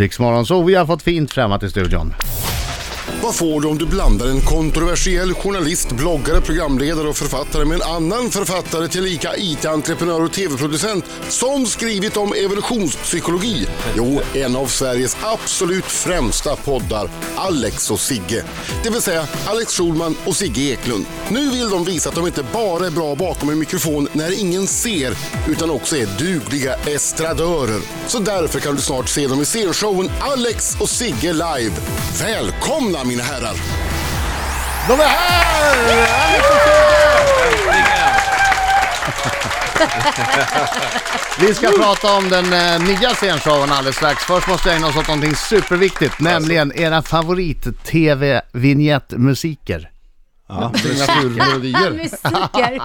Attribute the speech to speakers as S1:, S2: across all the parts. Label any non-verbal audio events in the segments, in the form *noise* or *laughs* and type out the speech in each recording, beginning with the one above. S1: Riksmorgon, så vi har fått fint främmat i studion.
S2: Vad får du om du blandar en kontroversiell journalist, bloggare, programledare och författare med en annan författare tillika IT-entreprenör och TV-producent som skrivit om evolutionspsykologi? Jo, en av Sveriges absolut främsta poddar, Alex och Sigge. Det vill säga Alex Schulman och Sigge Eklund. Nu vill de visa att de inte bara är bra bakom en mikrofon när ingen ser, utan också är dugliga estradörer. Så därför kan du snart se dem i scenshowen Alex och Sigge live. Välkomna mina herrar!
S1: De är här! Alex och Sigge! Vi ska prata om den eh, nya scenshowen alldeles strax. Först måste jag ägna oss åt någonting superviktigt, nämligen era favorit-tv-vignettmusiker.
S3: Ja.
S1: Signaturmelodier.
S4: Musiker.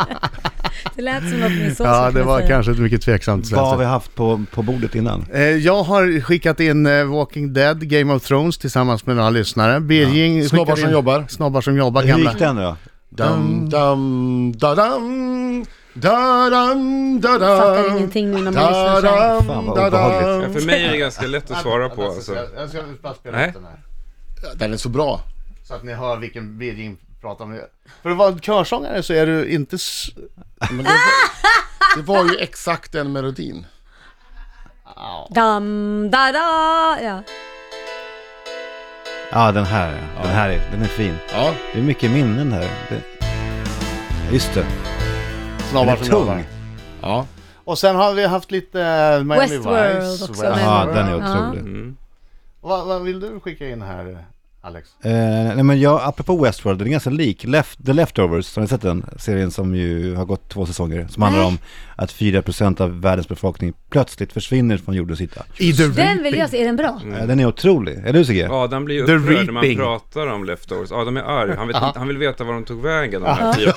S4: Det lät som något min son
S1: Ja,
S4: skulle
S1: det var
S4: säga.
S1: kanske ett mycket tveksamt
S3: Vad har vi
S1: svenskt.
S3: haft på, på bordet innan?
S1: Eh, Jag har skickat in eh, Walking Dead, Game of Thrones tillsammans med några lyssnare. Birging skickade
S2: Snobbar som
S1: in-
S2: jobbar.
S1: Snobbar som jobbar,
S3: Hur
S1: gamla.
S3: gick den då?
S2: Dam, dam, da-dam, da-dam, da-dam.
S4: Fattar ingenting nu när man lyssnar så här.
S2: Da-dam,
S3: Fan, vad
S2: da-dam.
S3: obehagligt.
S5: Ja, för mig är det ganska lätt att svara på alltså.
S1: Jag ska bara spela
S5: Nej.
S1: upp den här.
S2: Den är så bra.
S1: Så att ni hör vilken Birging pratar om. För att vara en körsångare så är du inte... s-
S2: Men det, det var ju exakt den melodin.
S4: Dam, da, da. Ja.
S3: Ja, den här. Den här är, den är fin.
S2: Ja.
S3: Det är mycket minnen här. Det... Just det.
S1: Snabbar
S3: Den är
S1: som jobbar.
S3: tung.
S2: Ja.
S1: Och sen har vi haft lite eh, Miami
S4: Westworld
S1: Vice.
S4: också.
S1: West-
S3: Ja, den är
S4: Ja.
S3: otrolig.
S1: Vad, vad vill du skicka in här, eh, Alex?
S3: Eh, nej men jag, apropå Westworld, den är ganska lik Left, The Leftovers, har ni sett den? Serien som ju har gått två säsonger, som handlar om att 4% av världens befolkning plötsligt försvinner från jordens yta.
S4: Den vill jag se. Är den bra?
S3: Eh, den är otrolig, eller hur Sigge?
S5: Adam blir ju
S1: The
S5: upprörd när man
S1: Reaping.
S5: pratar om leftovers. Adam är arg. Han, vet, han vill veta var de tog vägen, de här 10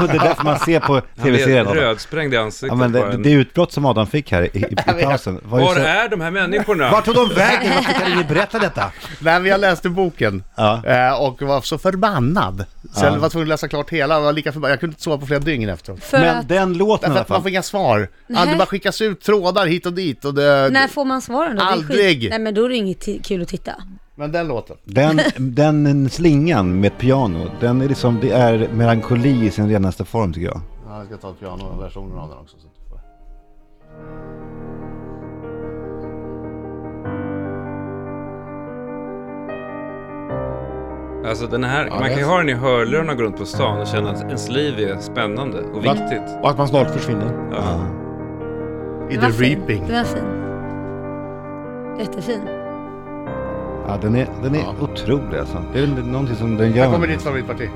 S3: Och *laughs* det är därför man ser på
S5: Han blir
S3: tv-serien. Adam.
S5: rödsprängd i
S3: Ja,
S5: ansiktet
S3: men
S5: bara.
S3: det, det utbrott som Adam fick här i, i, i pausen var ju
S5: Var
S3: så...
S5: är de här människorna?
S3: Vart tog de vägen? Varför kan ingen berätta detta?
S1: Nej, men jag läste boken
S3: Ja.
S1: eh, och var så förbannad. Så jag var tvungen att läsa klart hela, jag var lika förbannad. Jag kunde inte sova på flera dygn efteråt.
S4: För
S3: Men
S4: att,
S3: den låten
S1: Därför
S3: i alla
S1: att man får
S3: fall.
S1: inga svar. Ja, Det
S4: Nej.
S1: bara skickas ut trådar hit och dit och det...
S4: när får man svaren då? Det är skit-
S1: Aldrig.
S4: Nej men då är det inget ti- kul att titta.
S1: Men den låten.
S3: Den, den slingan med ett piano, den är liksom, det är melankoli i sin renaste form tycker jag.
S1: Ja, jag ska ta pianoversionen av den också. Så att du får...
S5: Alltså den här, man
S2: det
S5: kan
S2: är
S5: ju
S2: så.
S5: ha den i hörlurarna och gå runt på stan och känna att ens liv är spännande och
S2: Va?
S5: viktigt.
S2: Och att man snart försvinner.
S5: Ja.
S1: I
S4: Den
S1: The
S4: var fin.
S1: Reaping.
S4: Den var fin. Jättefin.
S3: Ja, den är, den är
S2: Ja.
S3: otrolig alltså. Det är väl någonting som den
S1: Här
S3: gör.
S1: kommer ditt favoritparti.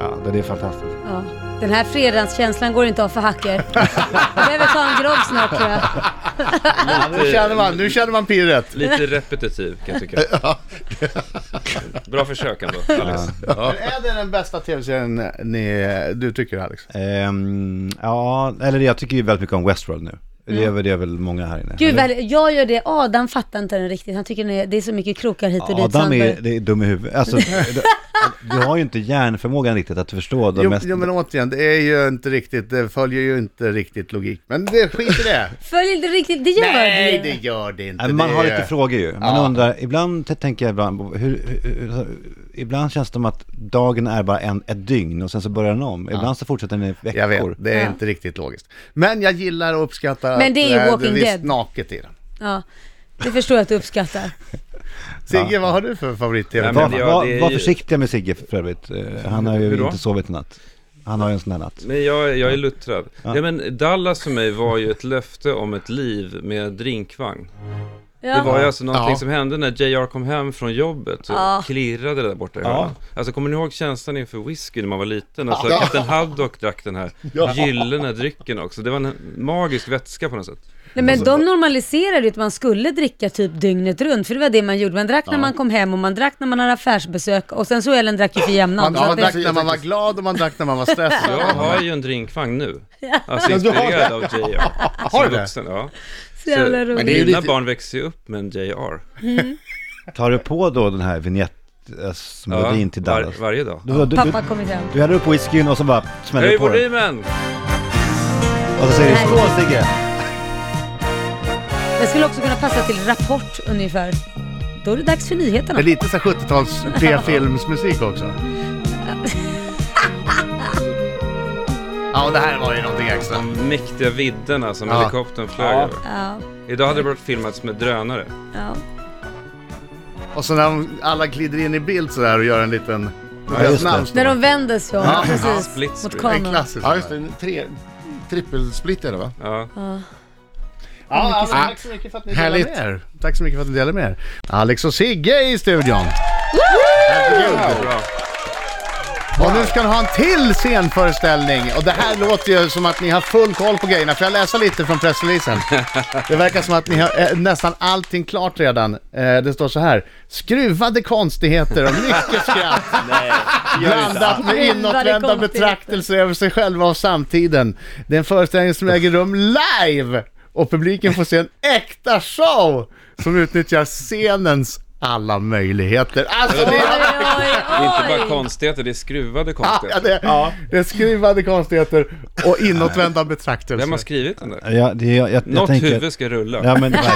S3: Ja, den är fantastisk.
S4: Ja. Den här fredagskänslan går inte av
S1: *laughs*
S4: för hacker. Behöver ta en grogg snart tror jag.
S1: Nu känner man, nu känner man pirret.
S5: Lite repetitiv kan
S3: *laughs*
S5: jag tycka. Bra försök ändå, Alex.
S1: Men Är det den bästa tv-serien ni, du tycker Alex?
S3: Ehm, ja, eller jag tycker ju väldigt mycket om Westworld nu. Det, är, väl- det är väl många här inne.
S4: Mm. Gud,
S3: Eller?
S4: vad, jag gör det. Adam fattar inte den riktigt. Han tycker den är, det är så mycket krokar hit och dit. så
S3: Adam
S4: han
S3: är,
S4: börjar-
S3: det är dum i huvudet.
S4: *laughs*
S3: Alltså, du, du har ju inte hjärnförmågan riktigt att förstå de
S1: Jo,
S3: mest...
S1: jo men återigen, det är ju inte riktigt, det följer ju inte riktigt logik. Men det, skit i
S4: *laughs*
S1: det.
S4: Följer inte riktigt, det gör
S1: Nej,
S4: det.
S1: det gör det inte.
S3: Nej, men Man
S1: det
S3: har
S1: är-
S3: lite frågor ju. Man
S1: Ja.
S3: undrar, ibland t- tänker jag ibland, hur, hur, hur, ibland känns det som att dagen är bara en, ett dygn och sen så börjar den om. Ibland så fortsätter den i veckor.
S1: Jag vet, det är
S4: Ja.
S1: inte riktigt logiskt. Men jag gillar och uppskattar
S4: Men det är ju
S1: att eh,
S4: Walking
S1: det är visst
S4: Dead.
S1: naket i den.
S4: Ja, det förstår jag att du uppskattar.
S1: Sigge, vad har du för favorit-tv?
S5: Nej,
S3: Var,
S5: men det- ja,
S3: var,
S5: det är
S3: var
S5: ju-
S3: försiktiga med Sigge för övrigt. Eh, Han har
S5: Hur
S3: ju
S5: då?
S3: inte sovit i natt. Han har ju en sån här natt.
S5: Men jag, jag är luttrad. Ja. men Dallas för mig var ju ett löfte om ett liv med drinkvagn.
S4: Ja.
S5: Det var ju alltså någonting
S2: Ja.
S5: som hände när JR kom hem från jobbet och
S4: Ja.
S5: klirrade där borta i
S3: Ja.
S5: hörnan. Alltså kommer ni ihåg känslan inför whisky när man var liten? Alltså Kapten Haddock drack den här gyllene drycken också. Det var en magisk vätska på något sätt.
S4: Nej, men de normaliserade ju att man skulle dricka typ dygnet runt, för det var det man gjorde. Man drack när man kom hem och man drack när man hade affärsbesök och sen så ölen drack ju för jämnan.
S1: Man,
S4: så
S1: man
S4: att det-
S1: drack när man var glad och man drack när man var stressad.
S4: *laughs*
S5: Jag har ju en drinkvagn nu. Alltså
S1: Ja, du har
S5: inspirerad av JR.
S1: Har du det?
S5: vuxen, ja.
S4: så jävla
S5: Så-
S4: roligt.
S2: det är ju
S5: Mina
S2: lite-
S5: barn växer ju upp med en JR.
S3: Tar du på då den här eh, vignettmelodin till
S5: var-
S3: Dallas?
S5: varje dag.
S3: Du, du, du,
S4: Pappa kommit hem.
S3: du häller upp whiskyn och så bara smäller
S5: Höj
S3: du på den.
S5: volymen!
S3: Och så säger du skål Sigge!
S4: Den skulle också kunna passa till Rapport ungefär. Då är det dags för nyheterna.
S1: Det är lite så här 70-tals B-filmsmusik
S4: *laughs*
S1: också. Ja, och det här var ju någonting extra.
S5: De mäktiga vidderna som
S1: Ja.
S5: helikoptern flög
S2: Ja.
S5: över.
S4: Ja,
S5: Idag hade det varit filmats med drönare.
S4: ja.
S1: Och så när de alla glider in i bild sådär och gör en liten...
S3: Ja, just det.
S1: namn står.
S4: När de vänder sig om,
S1: Ja,
S5: ja,
S4: precis,
S5: split
S4: mot
S5: screen.
S1: En
S4: kameran.
S1: klassisk.
S2: Ja, just det. En Tre, trippelsplit är det va?
S5: Ja.
S1: Ja, alltså, tack så mycket för att ni delade
S2: Härligt.
S1: med er. Tack så mycket för att ni delade med er. Alex och Sigge i studion.
S5: Bra.
S1: Och nu ska ni ha en till scenföreställning. Och det här låter ju som att ni har full koll på grejerna. Får jag läsa lite från pressreleasen? Det verkar som att ni har eh, nästan allting klart redan. Eh, det står så här. Skruvade konstigheter och mycket skratt. Blandat med
S4: Skruvade
S1: inåtvända
S4: konstigheter.
S1: betraktelser över sig själva och samtiden. Det är en föreställning som äger rum live! Och publiken får se en äkta show som utnyttjar scenens alla möjligheter. Alltså det
S4: Oj,
S1: är...
S5: *laughs* Det är inte bara
S4: oj, oj!
S5: konstigheter, det är skruvade
S1: Ja,
S5: konstigheter.
S1: det, det är skruvade konstigheter och inåtvända betraktelser.
S5: Vem har skrivit den där?
S3: Ja, det, jag, jag, jag
S5: Något
S3: tänker...
S5: huvud ska rulla.
S3: Ja men verkligen.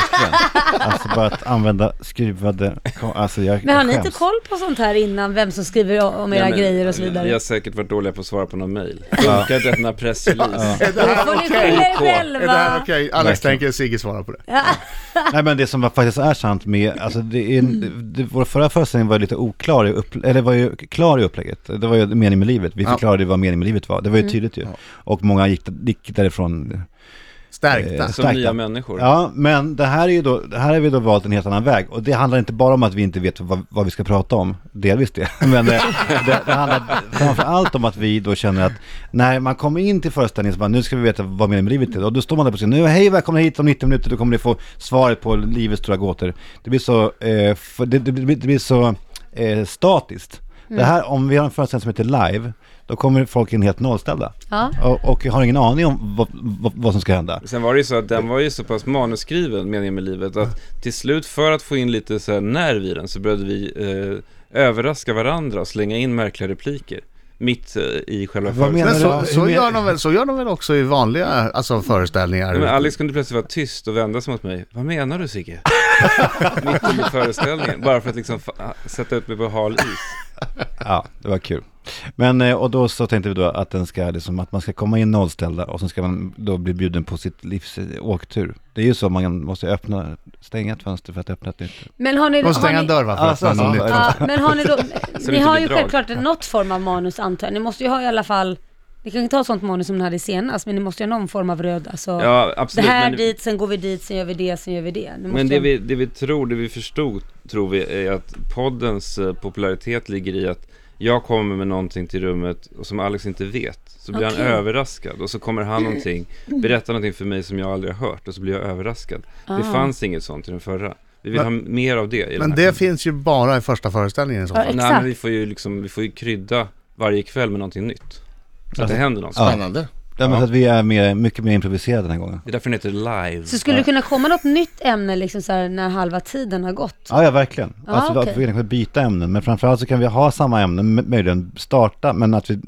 S3: Alltså bara att använda skruvade... Alltså jag
S4: Men har ni
S3: skäms.
S4: inte koll på sånt här innan, vem som skriver om era
S5: Nej, men
S4: grejer och så vidare?
S5: Vi har säkert varit dåliga på att svara på någon mejl. Funkar att öppna pressrelease?
S1: Är det här
S4: Får ni
S1: okej?
S4: skylla er
S5: OK.
S1: Är det här
S4: själva?
S1: okej? Alex
S3: Verkligen.
S1: tänker Sigge svara på det.
S3: Nej men det som var- faktiskt är sant med, alltså det är, det, vår förra föreställning var ju lite oklar i upp, eller var ju klar i upplägget. Det var ju meningen med livet, vi förklarade vad meningen med livet var. Det var ju tydligt ju. Och många gick, gick därifrån
S1: Stärkta.
S3: Eh,
S5: Som nya
S3: Starka.
S5: människor.
S3: Ja, men det här är ju då, det här har vi då valt en helt annan väg. Och det handlar inte bara om att vi inte vet vad, vad vi ska prata om, delvis det. *laughs* Men det, det, det handlar framför allt om att vi då känner att när man kommer in till föreställningen så bara, nu ska vi veta vad meningen med livet är. Och då står man där på scenen, nu hej välkomna hit om 90 minuter, då kommer ni få svaret på livets stora gåtor. Det blir så, eh, för, det, det, blir- det blir så eh, statiskt. Det här, om vi har en föreställning som heter live, då kommer folk in helt nollställda.
S4: Ja.
S3: Och, och har ingen aning om vad, vad, vad som ska hända.
S5: Sen var det ju så att den var ju så pass manusskriven, meningen med livet, att till slut för att få in lite så här nerv i den så började vi eh, överraska varandra och slänga in märkliga repliker. Mitt eh, i själva
S3: Vad
S5: föreställningen.
S1: Men så,
S3: Hur
S1: så,
S3: men-
S1: gör de väl, så gör de väl också i vanliga alltså, föreställningar?
S5: Men Alex kunde plötsligt vara tyst och vända sig mot mig. Vad menar du Sigge? *laughs* Mitt i föreställningen. Bara för att liksom fa- sätta upp mig på hal is.
S3: Ja, det var kul. Men, eh, och då så tänkte vi då att den ska, liksom, att man ska komma in nollställda och sen ska man då bli bjuden på sitt livs eh, åktur. Det är ju så, man måste öppna, stänga ett fönster för att öppna ett nytt.
S4: Men har ni...
S1: De måste
S4: har
S1: stänga en
S4: ni-
S1: dörr va? För att
S3: Alltså,
S1: öppna något
S3: alltså,
S1: nytt.
S4: Ja, men har ni då...
S5: det
S4: ni
S5: inte
S4: har
S5: blir
S4: ju
S5: drag.
S4: självklart något form av manus antar jag. Ni måste ju ha i alla fall... Ni kan ju inte ha sånt manus som ni hade senast, men ni måste ju ha någon form av röd, alltså...
S5: Ja,
S4: det
S5: absolut.
S4: här
S5: men,
S4: dit, sen går vi dit, sen gör vi det, sen gör vi det. Ni måste
S5: men det,
S4: ju-
S5: vi, det vi tror, det vi förstod, tror vi, är att poddens eh, popularitet ligger i att jag kommer med någonting till rummet och som Alex inte vet. Så blir
S4: Okej.
S5: han överraskad och så kommer han någonting, berättar någonting för mig som jag aldrig har hört och så blir jag överraskad. Det
S4: Ah.
S5: fanns inget sånt i den förra. Vi vill
S1: Men-
S5: ha mer av det i den
S1: Men
S5: här.
S1: det finns ju bara i första föreställningen i så fall.
S4: Ja,
S5: Nej,
S4: Exakt.
S5: men vi får ju liksom, vi får ju krydda varje kväll med någonting nytt. Så att det händer något.
S2: Spännande.
S3: Alltså, Ja. men
S5: Ja.
S3: Så att vi är mer, mycket mer improviserade den här gången.
S5: Det är därför den heter live.
S4: Så skulle det kunna komma något nytt ämne liksom så här, när halva tiden har gått?
S3: Ja, ja verkligen.
S4: Ja,
S3: alltså
S4: okej.
S3: att vi kan byta ämnen, men framförallt så kan vi ha samma ämnen, m- möjligen starta, men att vi,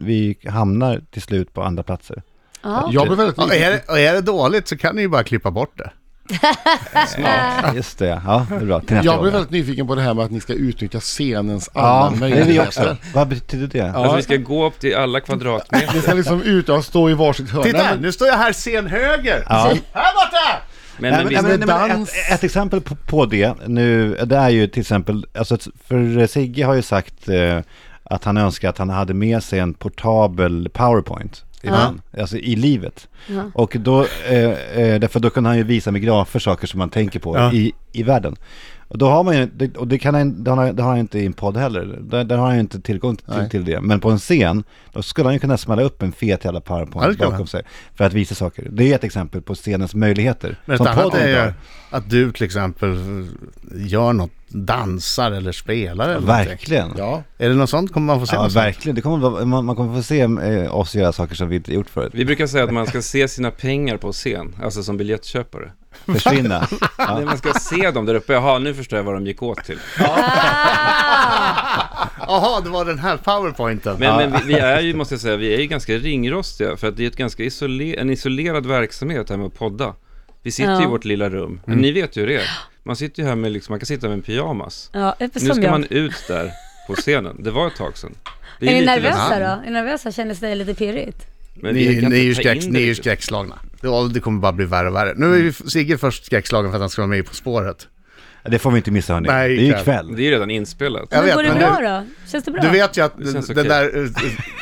S3: vi hamnar till slut på andra platser.
S4: Ja.
S2: Jag blev väldigt
S1: Och är,
S2: nyfiken.
S1: det, och är det dåligt så kan ni ju bara klippa bort det.
S3: Just det, ja, det är bra. Till nästa
S2: Jag blev
S3: gång.
S2: väldigt nyfiken på det här med att ni ska utnyttja scenens alla
S3: Ja, det är vi också.
S2: möjligheter.
S3: Vad betyder det? Ja.
S5: Alltså vi ska gå upp till alla kvadratmeter.
S2: Ni ska liksom ut och stå i varsitt hörn.
S1: Titta,
S2: Nej, men-
S1: nu står jag här scen höger! Här borta!
S5: Men,
S3: Nej,
S5: men,
S3: men,
S5: vi,
S3: nej, men, nej, men
S2: dans.
S3: ett, ett exempel på, på det nu, det är ju till exempel, alltså att- för Sigge har ju sagt eh, att han önskar att han hade med sig en portabel powerpoint. Ibland, Alltså i livet. Och då, eh, eh, därför då kunde han ju visa med grafer saker som man tänker på
S1: Ja.
S3: i, i världen. Och då har man ju, det- och det, kan han, det, har, han- det har han inte i en podd heller, där, där har han ju inte tillgång till,
S2: Nej.
S3: till det. Men på en scen, då skulle han ju kunna smälla upp en fet jävla
S1: Ja, det
S3: powerpoint
S1: skulle han.
S3: bakom sig. För att visa saker. Det är ett exempel på scenens möjligheter.
S1: Men ett annat
S3: podden
S1: är
S3: drar.
S1: ju att du till exempel gör något, dansar eller spelar eller någonting.
S3: Verkligen. Ja,
S2: Ja,
S1: Är det något sånt? Kommer man få se något sånt?
S3: verkligen. Det kommer, vara- man, man kommer få se eh, oss göra saker som vi inte gjort
S5: *laughs*
S3: förut.
S5: vi brukar säga att man ska se sina pengar på scen, alltså som biljettköpare.
S3: Försvinna. Ja.
S5: Nej, Man ska se dem där uppe, jaha nu förstår jag vad de gick åt till.
S1: Jaha, det var den här powerpointen.
S5: Men, men vi, vi är ju, måste jag säga, vi är ju ganska ringrostiga för att det är ett ganska isole- en isolerad verksamhet här med att podda. Vi sitter
S4: Ja.
S5: i vårt lilla rum. Men
S3: Mm.
S5: Ni vet ju hur det är. Man sitter ju här med, liksom, man kan sitta med en pyjamas.
S4: Ja, som
S5: Nu ska
S4: jag.
S5: man ut där på scenen. Det var ett tag sedan. Vi
S4: är ni
S5: lite
S4: nervösa
S5: ledsna,
S4: då? Är ni nervösa? Kändes det lite pirrigt?
S5: men vi
S1: Ni,
S5: kan
S1: ni är ju,
S5: inte ta
S1: skräck,
S5: in det liksom.
S1: ni är ju
S5: riktigt.
S1: skräckslagna. Ja, det kommer bara bli värre och värre. Nu är ju Sigge först skräckslagen för att han ska vara med i På spåret.
S3: Det får vi inte missa hörni.
S1: Nej,
S3: det är ju
S1: ikväll.
S3: ikväll.
S5: Det är ju redan inspelat.
S1: Jag vet,
S4: men går det
S1: men
S4: bra då? Känns det bra?
S1: Du vet ju att
S5: Det känns
S1: den
S5: okej.
S1: där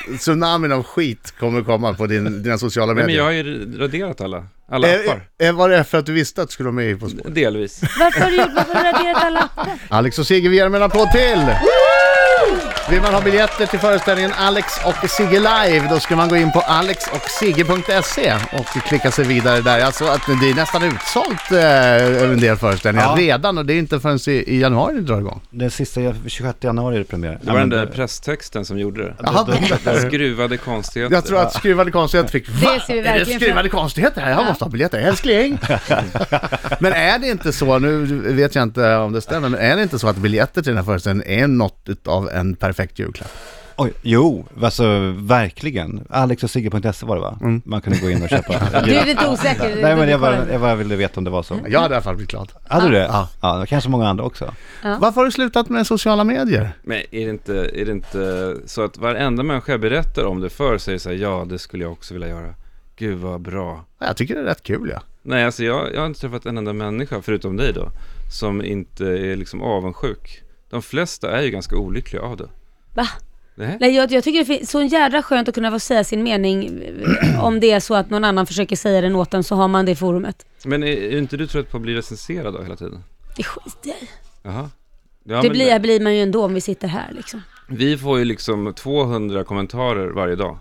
S1: eh, eh, tsunamin av skit kommer komma på din, dina sociala
S5: Nej, men jag
S1: medier.
S5: har ju raderat alla, alla appar.
S1: Eh, eh, Var det för att du visste att du skulle vara med i På spåret?
S5: Delvis.
S4: Varför har du gjort, varför har du raderat alla appar?
S1: Alex och Sigge, vi ger dem en applåd till! Vill man ha biljetter till föreställningen Alex och Sigge live, då ska man gå in på alexochsigge.se och klicka sig vidare där. Jag såg att det är nästan utsålt eh, en del föreställningar
S3: Ja.
S1: redan och det är inte förrän i, i januari det drar igång.
S3: Den sista, 26 januari är det premiär.
S5: Det var den där presstexten som gjorde det.
S1: Jaha,
S5: Skruvade konstigheter.
S1: jag tror att skruvade konstigheter fick... Va?
S4: ser vi
S1: är det
S4: verkligen
S1: skruvade konstigheter här? Jag måste ha biljetter, älskling! men är det inte så, nu vet jag inte om det stämmer, men är det inte så att biljetter till den här föreställningen är något av en perfekt julklapp?
S3: Oj, jo, alltså verkligen. Alexochsigge.se E var det va? Man kunde gå in och köpa.
S4: Du är lite osäker. du-
S3: Nej men
S4: du Mm.
S3: jag bara,
S4: kollar.
S3: jag bara ville veta om det var så.
S1: Jag hade i alla fall blivit glad.
S3: Hade du det?
S1: Ja.
S3: Ja. ja, kanske många andra också.
S1: Varför har du slutat med sociala medier?
S5: Men är det, inte, är det inte så att varenda människa jag berättar om det för säger så här, ja det skulle jag också vilja göra. Gud vad bra.
S1: Ja, Jag tycker det är rätt kul ja.
S5: Nej, alltså jag, jag har inte träffat en enda människa, förutom dig då, som inte är liksom avundsjuk. De flesta är ju ganska olyckliga av det.
S4: Va?
S5: Nej.
S4: Nej, jag, jag tycker det finns så jädra skönt att kunna få säga sin mening eh, om det är så att någon annan försöker säga den åt en så har man det forumet.
S5: Men är, är inte du trött på att bli recenserad då hela tiden?
S4: Det skiter jag i.
S5: Jaha. Ja,
S4: Det
S5: men
S4: blir, blir man ju ändå om vi sitter här liksom.
S5: Vi får ju liksom 200 kommentarer varje dag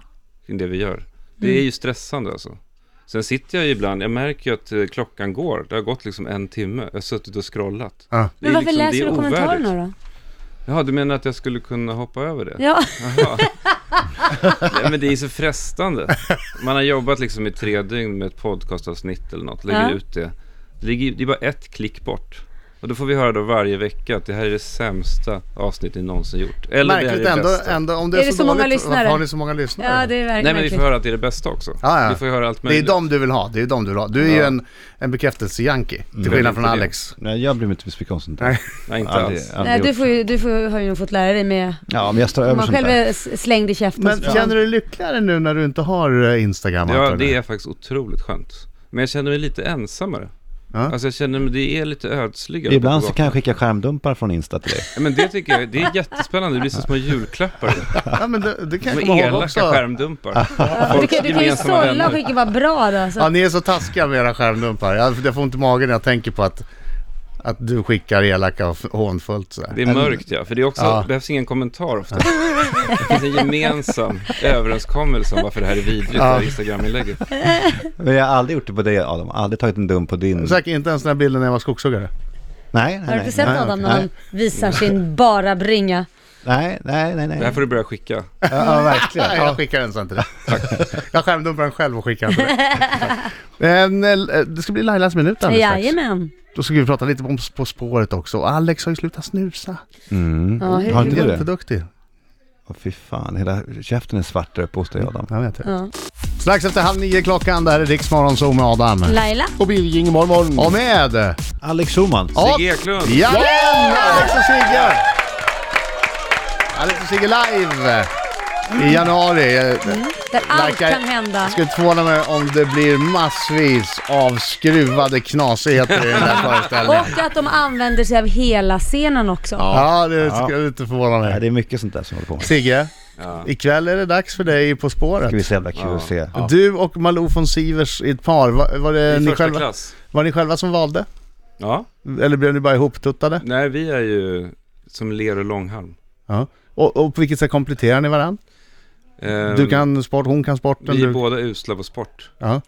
S5: kring det vi gör. Det
S4: Mm.
S5: är ju stressande alltså. Sen sitter jag ju ibland, jag märker ju att eh, klockan går. Det har gått liksom en timme. Jag har suttit och scrollat.
S1: Ja.
S5: Det är
S4: Men varför
S5: liksom- det
S4: läser
S5: är
S4: du
S5: ovärdigt.
S4: kommentarerna då?
S5: Jaha, du menar att jag skulle kunna hoppa över det?
S4: Ja,
S5: Jaha. Nej, men det är så frestande. Man har jobbat liksom i tre dygn med ett podcastavsnitt eller något, lägger
S4: Ja.
S5: ut det. Det, ligger, det är bara ett klick bort. Och då får vi höra då varje vecka att det här är det sämsta avsnitt ni någonsin gjort. Eller
S1: Märkligt
S5: det här är det
S1: ändå, eh,
S5: bästa.
S1: ändå, om det är, så,
S4: många
S1: dåligt,
S4: lyssnare?
S1: varför har ni så många lyssnare?
S4: ja
S1: det...
S4: det är verkligen
S5: Nej men vi får
S4: märkligt.
S5: höra att det är det bästa också.
S1: Ja, ja.
S5: Vi får ju höra allt
S1: är
S5: möjligt.
S1: dem du vill ha, det är dem du vill ha. Du är ju en, en bekräftelse-junkie, till skillnad från
S5: Det är
S1: Alex.
S3: Nej, jag blir inte besviken om sånt där.
S1: Nej.
S5: Nej inte
S3: Aldrig-
S5: alls.
S3: aldrig
S4: Nej, du,
S3: gjort.
S4: får ju, du får, har ju nog fått lära dig med,
S3: Ja, men jag står
S4: om
S3: över
S4: man
S3: sånt
S4: själv
S3: där.
S4: är s- slängd i käften.
S1: Men
S4: så får
S1: känner
S4: man-
S1: du dig lyckligare nu när du inte har eh, Instagram?
S5: Ja
S1: antar jag?
S5: det är faktiskt otroligt skönt. Men jag känner mig lite ensammare.
S1: Ja.
S5: Alltså jag känner mig, det är lite ödsligare.
S3: Ibland så kan jag skicka skärmdumpar från Insta till dig.
S5: Ja, Men det tycker jag, det är jättespännande. Det blir som små julklappar.
S3: *laughs*
S1: Ja, men det, det kan jag
S5: Med
S1: komma ihåg
S5: elaka
S1: också.
S5: skärmdumpar.
S4: du, kan, du kan ju
S5: gemensamma
S4: sålla
S5: vänner.
S4: och skicka vad bra då. alltså. Så.
S1: Ja, ni är så taskiga med era skärmdumpar. Jag, jag får inte magen när jag tänker på att, att du skickar elaka och f- hånfullt sådär.
S5: Det är mörkt ja, för det är också,
S1: Ja.
S5: behövs ingen kommentar ofta. Det finns en gemensam överenskommelse om varför det här är vidrigt, det här Instagram-inlägget.
S3: Men jag har aldrig gjort det på dig Adam, aldrig tagit en dump på din.
S1: Säkert inte ens den här bilden när jag var skogshuggare.
S3: Nej, nej,
S4: Har du
S3: nej.
S4: inte sett
S1: nej,
S4: Adam när
S3: nej.
S4: han visar sin bara bringa?
S3: Nej, nej, nej,
S5: Det här
S3: nej.
S5: får du börja skicka.
S3: Ja, ja, verkligen.
S1: *laughs* Nej, jag skickar den sen
S3: *laughs*
S1: till dig. Jag skärmdumpar den själv och skickar den till dig. Men, eh, det ska bli Lailas minut alldeles strax.
S4: Jajamän.
S1: Då ska vi prata lite om På spåret också. Och Alex har ju slutat snusa.
S3: Mm.
S4: Ja, hur-
S3: Har inte du det?
S1: Jätteduktig.
S3: Åh fy fan, hela käften är svart där uppe hos dig Adam.
S1: Jag vet det.
S4: Ja.
S1: Strax efter halv nio klockan, det här är Rix Morgonzoo med Adam.
S4: Laila?
S2: Och Birging morgon.
S3: Mm.
S1: Och med... Ja!
S3: Alex Schulman.
S5: Sigge Eklund!
S1: Jajamän! Alex och Sigge! Alex och Sigge live! I januari. Eh,
S4: Där allt
S1: Verkar-
S4: kan hända.
S1: Jag skulle inte förvåna mig om det blir massvis av skruvade knasigheter i den
S4: *laughs*
S1: här föreställningen.
S4: Och att de använder sig av hela scenen också.
S1: Ja, det skulle inte förvåna mig.
S3: Ja, det är mycket sånt där som håller på med.
S1: Sigge,
S5: Ja.
S1: ikväll är det dags för dig På spåret.
S3: Det blir så jävla kul att se.
S1: Du och Malou von Sivers i ett par, var, var,
S5: I
S1: det ni
S5: första
S1: själva,
S5: klass.
S1: var ni själva som valde?
S5: Ja,
S1: Eller blev ni bara ihoptuttade?
S5: nej vi är ju som ler och långhalm.
S1: Ja. Och, och på vilket sätt kompletterar ni varandra?
S5: Ehm,
S1: Du kan sport, hon kan sporten.
S5: Vi är
S1: Du...
S5: båda usla på sport.
S1: Ja.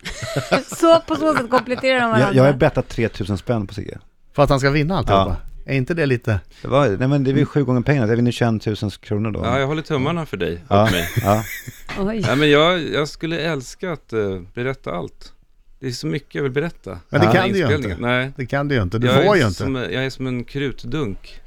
S4: Så på så sätt kompletterar de
S3: Jag,
S4: varandra.
S3: jag har bettat 3000 spänn på Sigge.
S1: För att han ska vinna alltihopa. Är inte det lite...
S3: Det var, nej men det är väl sju gånger pengarna, jag vinner 21 000 kronor då.
S5: Ja, jag håller tummarna för dig och
S3: Ja.
S5: mig.
S3: Ja.
S4: Oj.
S5: Nej, men jag, jag skulle älska att eh, berätta allt. Det är så mycket jag vill berätta.
S1: Men det
S5: Den här
S1: kan du ju inte.
S5: inspelningen. Nej.
S1: Det kan du ju inte, du
S5: Jag
S1: får
S5: är,
S1: ju inte.
S5: som, jag är som en krutdunk.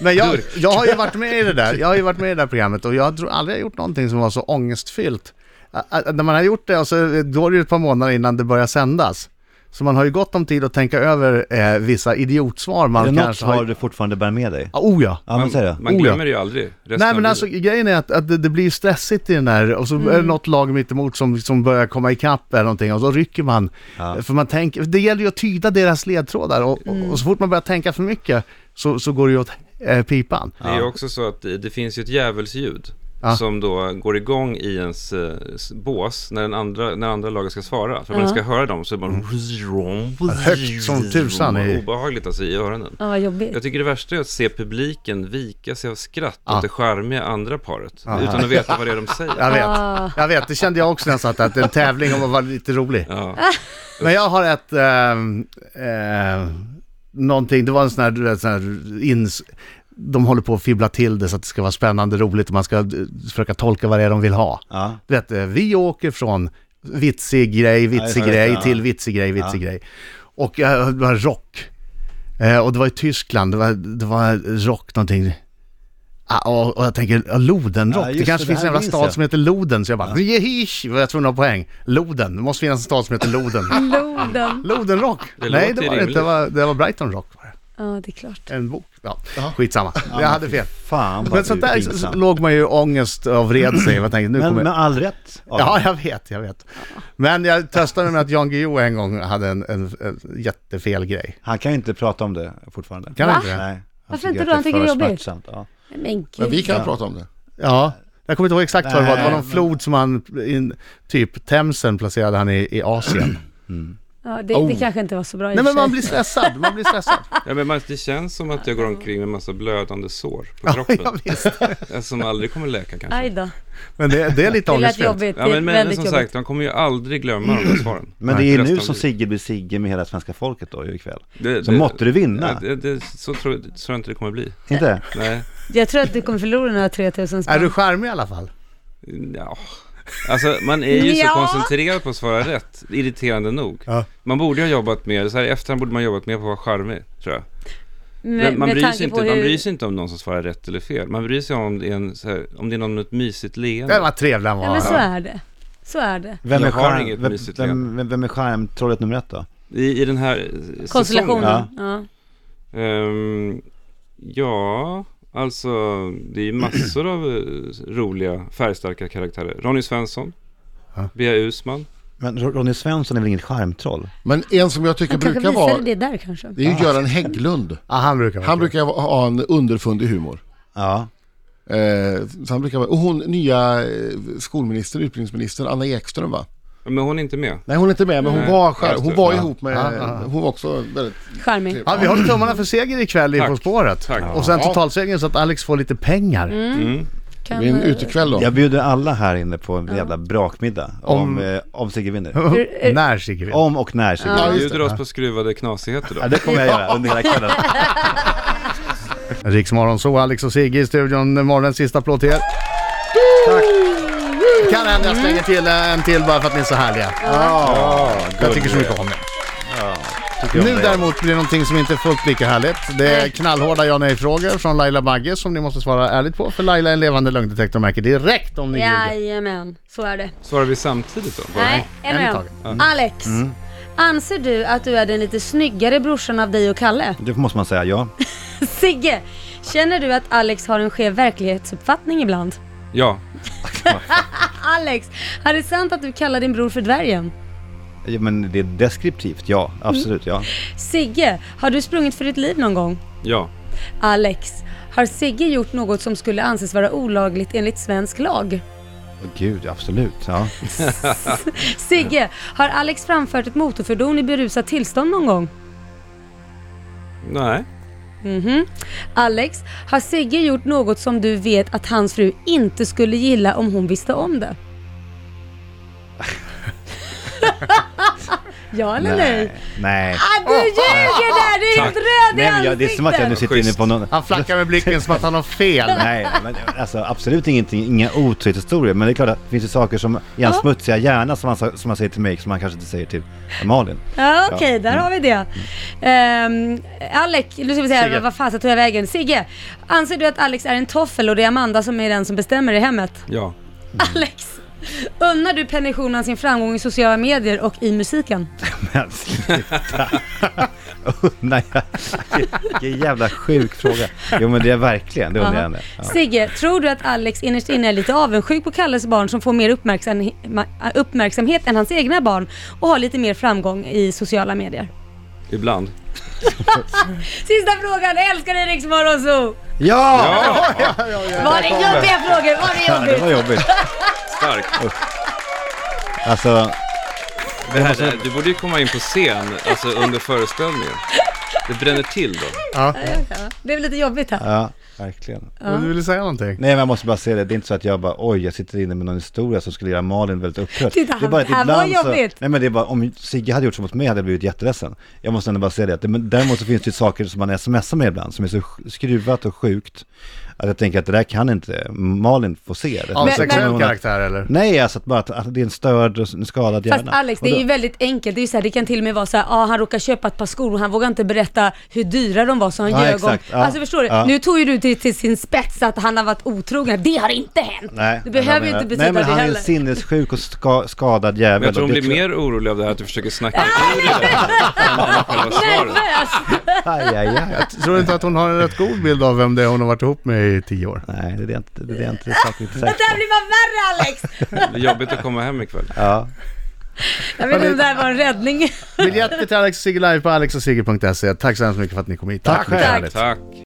S1: Men jag, jag har ju varit med i det där, jag har ju varit med i det där programmet och jag tror aldrig jag gjort någonting som var så eh, ångestfyllt. Ä- ä- När man har gjort det och så går det ju ett par månader innan det börjar sändas. Så man har ju gott om tid att tänka över eh, vissa idiotsvar
S3: Är det
S1: man
S3: något
S1: kanske
S3: svar
S1: har...
S3: du fortfarande bär med dig?
S1: Ah, oh ja!
S3: Ja, men säg det.
S5: Man
S1: Oh, ja.
S5: glömmer det ju aldrig. resten
S1: Nej
S5: av
S1: men
S5: livet.
S1: alltså grejen är att, att det, det blir ju stressigt i den där och så är det något lag mitt emot som, som börjar komma ikapp eller någonting och så rycker man. Eh, För man tänker, det gäller ju att tyda deras ledtrådar och, och, och så fort man börjar tänka för mycket så, så går det ju åt eh, pipan.
S5: Det är ju också så att det, det finns ju ett djävulsljud
S1: Ja.
S5: som då går igång i ens eh, s- bås när, den andra, när andra laget ska svara. För att man ska höra dem så är det bara...
S1: Mm. Högt som tusan i-
S5: Obehagligt alltså i öronen.
S4: Ja, vad jobbigt.
S5: Jag tycker det värsta är att se publiken vika sig av skratt
S1: Ja.
S5: åt det charmiga andra paret. Utan att veta vad det är de
S1: Jag
S5: säger.
S1: vet,
S4: Ah.
S1: jag vet, det kände jag också när jag satt där, att det är en tävling om att vara lite rolig.
S5: Ja.
S1: Men jag har ett... ehm, eh, någonting, det var en sån här, du vet, sån här ins... De håller på att fibbla till det så att det ska vara spännande roligt och man ska eh, försöka tolka vad det är de vill ha.
S3: Ja.
S1: Du vet, eh, vi åker från vitsig grej, vitsig
S3: Ja, jag
S1: grej
S3: vet, ja.
S1: till vitsig grej, vitsig grej. Och eh, det var rock. Eh, och det var i Tyskland, det var, det var rock någonting. Ah, och, och jag tänker, ja, Lodenrock,
S3: Ja,
S1: det
S3: just
S1: kanske
S3: det,
S1: finns en
S3: det här
S1: jävla
S3: minns
S1: stad
S3: jag.
S1: som heter Loden. Så jag bara, jehish, jag tror den har poäng. Loden, det måste finnas en stad som heter
S3: *laughs*
S1: Loden.
S4: Loden.
S1: Lodenrock?
S5: Det
S1: Nej,
S5: låter
S1: det var det
S5: rimligt.
S1: inte. Det var, det var Brighton Rock. Var
S4: Ja, det är klart.
S1: det. En bok. Ja, skitsamma. Jag hade fel.
S3: Fan vad
S1: Men sånt där så- så låg man ju i ångest av red sig. Jag tänkte, nu
S3: Men
S1: kommer
S3: med
S1: jag...
S3: all rätt.
S1: Ja, jag vet, jag vet. Men jag tröstade mig med att Jan Guillou en gång hade en, en, en jättefel grej.
S3: Han kan ju inte prata om det fortfarande.
S1: Kan
S4: Va?
S1: han inte det?
S3: Nej. han
S4: Varför
S3: tycker
S4: inte
S3: att
S4: då? Han tycker
S3: för
S4: det är jobbigt.
S3: smärtsamt, Ja.
S4: Men
S2: Men vi
S4: gud.
S2: kan prata om det.
S1: Ja. Jag kommer inte ihåg exakt vad det var. Det var
S3: Nej,
S1: någon
S3: men-
S1: flod som han, in, typ Themsen placerade han i, i
S2: *clears throat*
S1: Asien.
S4: Ja, det, det
S2: Oh.
S4: kanske inte var så bra i
S1: Nej
S4: och
S1: men
S4: för
S1: man
S4: sig.
S1: blir stressad, man blir stressad.
S5: Ja, men man- det känns som att jag går omkring med massa blödande sår
S1: *laughs*
S5: på
S1: Ja,
S5: kroppen.
S1: visst.
S5: Som aldrig kommer läka kanske.
S4: Aj då.
S1: Men det, det är lite
S4: Det lät
S1: ångestfyllt.
S4: jobbigt.
S5: Ja,
S4: det är
S5: men, men
S4: väldigt
S5: som
S4: jobbigt.
S5: sagt, de kommer ju aldrig glömma
S3: *clears throat*
S5: de där svaren.
S3: Men det är ju
S5: Resten
S3: nu
S5: av
S3: som
S5: livet.
S3: Sigge blir Sigge med hela svenska folket då ju ikväll.
S5: Det-
S3: Så
S5: det-
S3: måtte du vinna.
S5: Ja, det, det, så tror så tror jag inte det kommer bli.
S3: Inte?
S5: Nej,
S4: Jag tror att du kommer förlora några 3000
S1: Är du
S4: spänn.
S1: charmig i alla fall?
S5: ja. Alltså man är ju
S4: Ja.
S5: så koncentrerad på att svara rätt, irriterande nog.
S1: Ja.
S5: Man borde ha jobbat mer, så här i efterhand borde man jobbat mer på att vara charmig, tror jag.
S4: Med,
S5: man,
S4: med
S5: bryr
S4: tanke
S5: sig inte,
S4: på
S5: man bryr
S4: hur...
S5: sig inte om någon som svarar rätt eller fel. Man bryr sig om det är, en, så här, om det är någon med ett mysigt
S1: Det
S5: leende.
S1: var trevlig han var.
S4: Ja, men så är det. Så är det.
S3: Vem
S5: Jag
S3: är,
S5: har
S3: charm,
S5: inget
S3: vem,
S5: mysigt
S3: vem, vem, vem är charmtrollet nummer ett då?
S5: I, I den här eh, säsongen.
S4: Konstellationen. Ja.
S5: Ehm, ja, alltså det är ju massor av eh, roliga färgstarka karaktärer. Ronny Svensson,
S1: Ja.
S5: Bea Usman.
S3: Men Ro- Ronny Svensson är väl inget charmtroll?
S2: Men en som jag tycker
S4: Han kanske
S2: brukar
S4: visade
S2: vara,
S4: det där kanske.
S2: det är ju Göran Hägglund.
S1: Ja, han brukar vara
S2: Han
S1: trevlig.
S2: brukar ha en underfundig humor.
S3: Ja.
S2: Eh, så han brukar vara, och hon nya eh, skolministern, utbildningsministern, Anna Ekström va?
S5: Men hon är inte med.
S2: Nej hon är inte med men hon
S1: Mm.
S5: Nej.
S2: var, skär,
S5: Just det.
S2: hon var
S5: Ja.
S2: ihop med,
S1: Ja, ja.
S2: hon var också väldigt...
S4: Charmig.
S1: Ja, vi håller tummarna för seger ikväll i
S5: Tack.
S1: På spåret.
S5: Tack.
S1: Och sen
S2: Ja.
S1: totalsegern så att Alex får lite pengar.
S2: Det
S4: Kan,
S2: blir en
S4: eh,
S2: utekväll då.
S3: Jag bjuder alla här inne på en jävla brakmiddag om,
S1: Om-
S3: eh, om Sigge vinner.
S1: *laughs*
S4: hur-
S1: När Sigge vill.
S3: Om och när Sigge
S5: Vi
S3: vinner.
S5: bjuder oss på skruvade knasigheter då.
S3: Ja, det kommer jag göra under hela
S4: *laughs*
S3: kvällen.
S1: Riksmorgon så Alex och Sigge i studion. Morgonens sista applåd till er. Tack. Kan hända jag slänger till eh, en till bara för att ni är så härliga. jag tycker så mycket om er.
S3: Tycker jag om
S1: Nu
S3: dig.
S1: däremot blir det någonting som inte är fullt lika härligt. Det är knallhårda ja nej-frågor från Laila Bagge som ni måste svara ärligt på. För Laila är en levande lögndetektor och märker direkt om ni ljuger.
S4: Jajamän, så är det.
S5: Svarar vi samtidigt då? Bara?
S4: Nej, en
S1: en i
S4: och en.
S1: taget.
S4: Alex, anser du att du är den lite snyggare brorsan av dig och Kalle?
S3: Det måste man säga ja.
S4: *laughs* Sigge, känner du att Alex har en skev verklighetsuppfattning ibland?
S5: Ja.
S4: Alex, är det sant att du kallar din bror för dvärgen?
S3: ja. Men det är deskriptivt, ja. Absolut, ja.
S4: Mm. Sigge, har du sprungit för ditt liv någon gång?
S5: Ja.
S4: Alex, har Sigge gjort något som skulle anses vara olagligt enligt svensk lag?
S3: Åh, Gud, absolut. Ja.
S4: Sigge, har Alex framfört ett motorfordon i berusat tillstånd någon gång?
S5: Nej.
S4: Alex, har Sigge gjort något som du vet att hans fru inte skulle gilla om hon visste om
S3: *laughs*
S4: det? ja eller nej?
S3: Nej. Oh,
S4: Ah, du ljuger där! Du är helt röd i
S3: Nej men jag, det är som att jag nu
S4: ansiktet!
S3: sitter inne på någon...
S1: Han flackar med blicken som att han har fel.
S3: Nej, men alltså absolut ingenting, inga otrohetshistorier. Men det är klart att det finns ju saker som i hans smutsiga hjärna som han, sa- som han säger till mig som han kanske inte säger till Malin.
S4: Ja okej, där
S3: Mm.
S4: har vi det. Ehm, Alex, nu ska vi se här,
S1: Sigge.
S4: vad fan så tog jag vägen? Sigge,
S3: Mm.
S4: anser du att Alex är en toffel och det är Amanda som är den som bestämmer i hemmet?
S5: Ja.
S4: *laughs* Alex, Unnar du Penny Schulman sin framgång i sociala medier och i musiken?
S3: Men sluta. *laughs* Unnar jag... Vilken jävla sjuk fråga. Jo men det är verkligen, det undrar jag henne. Ja.
S4: Sigge, tror du att Alex innerst inne är lite avundsjuk på Kalles barn som får mer uppmärksam, ma- uppmärksamhet än hans egna barn och har lite mer framgång i sociala medier?
S5: Ibland.
S4: Sista frågan, älskar du Rix Morgonzoo?
S3: Ja!
S5: Ja,
S4: Var det jobbiga frågor? Var
S3: ja!
S4: det
S3: Det var
S4: jobbigt?
S3: jobbigt.
S5: stark.
S3: Alltså,
S5: Det här, det- du borde ju komma in på scen, alltså under föreställningen. Det bränner till då.
S4: Ja, Det blev lite jobbigt här.
S3: ja, verkligen.
S1: Och Du ville säga någonting?
S3: Nej men jag måste bara säga det, det är inte så att jag bara oj jag sitter inne med någon historia som skulle göra Malin väldigt upprörd.
S4: Titta,
S3: det är bara att
S4: det här var
S3: ibland
S4: jobbigt.
S3: Så, nej men det är bara, om Sigge hade gjort så mot mig hade jag blivit jätteledsen. Jag måste ändå bara säga det, att det, men däremot så finns det ju saker som man smsar med ibland som är så sj- skruvat och sjukt. Att jag tänker att det där kan inte Malin få se. Det.
S1: Av
S4: Men-
S1: sexuell
S3: men-
S1: karaktär eller?
S3: Nej alltså att bara att, att det är en störd och en skadad hjärna.
S4: Fast Alex,
S3: Och
S4: det
S3: då-
S4: är ju väldigt enkelt. Det, är ju så här, det kan till och med vara så här, ah, han råkar köpa ett par skor och han vågar inte berätta hur dyra de var så han
S3: Ja,
S4: ljög om.
S3: exakt. Ja.
S4: Alltså förstår du?
S3: Ja.
S4: Nu tog ju du till, till sin spets att han har varit otrogen. Det har inte hänt!
S3: Nej,
S4: det
S3: men jag
S4: behöver ju
S3: menar-
S4: inte betyda
S3: Nej men
S4: det
S3: han är en
S4: heller.
S3: sinnessjuk och ska, skadad jävel.
S5: Men jag tror
S3: och
S5: hon
S3: det
S5: blir
S3: tror-
S5: mer orolig av det här att du försöker snacka ur det här än av själva svaret.
S4: Nervös!
S3: Aj, aj, aj.
S1: Tror du inte att hon har en rätt god bild av vem det är hon har varit ihop med i tio år?
S3: Nej, det är inte, det är inte saker inte
S4: Det
S3: säker
S4: här blir bara värre Alex!
S5: Det är jobbigt att komma hem ikväll.
S3: Ja.
S4: Jag vet inte om det här var en räddning.
S1: Biljetter till Alex och Sigge live på alexochsigge.se. Tack så hemskt mycket för att ni kom hit.
S3: Tack
S1: Det var
S3: själv.
S1: härligt.
S5: Tack.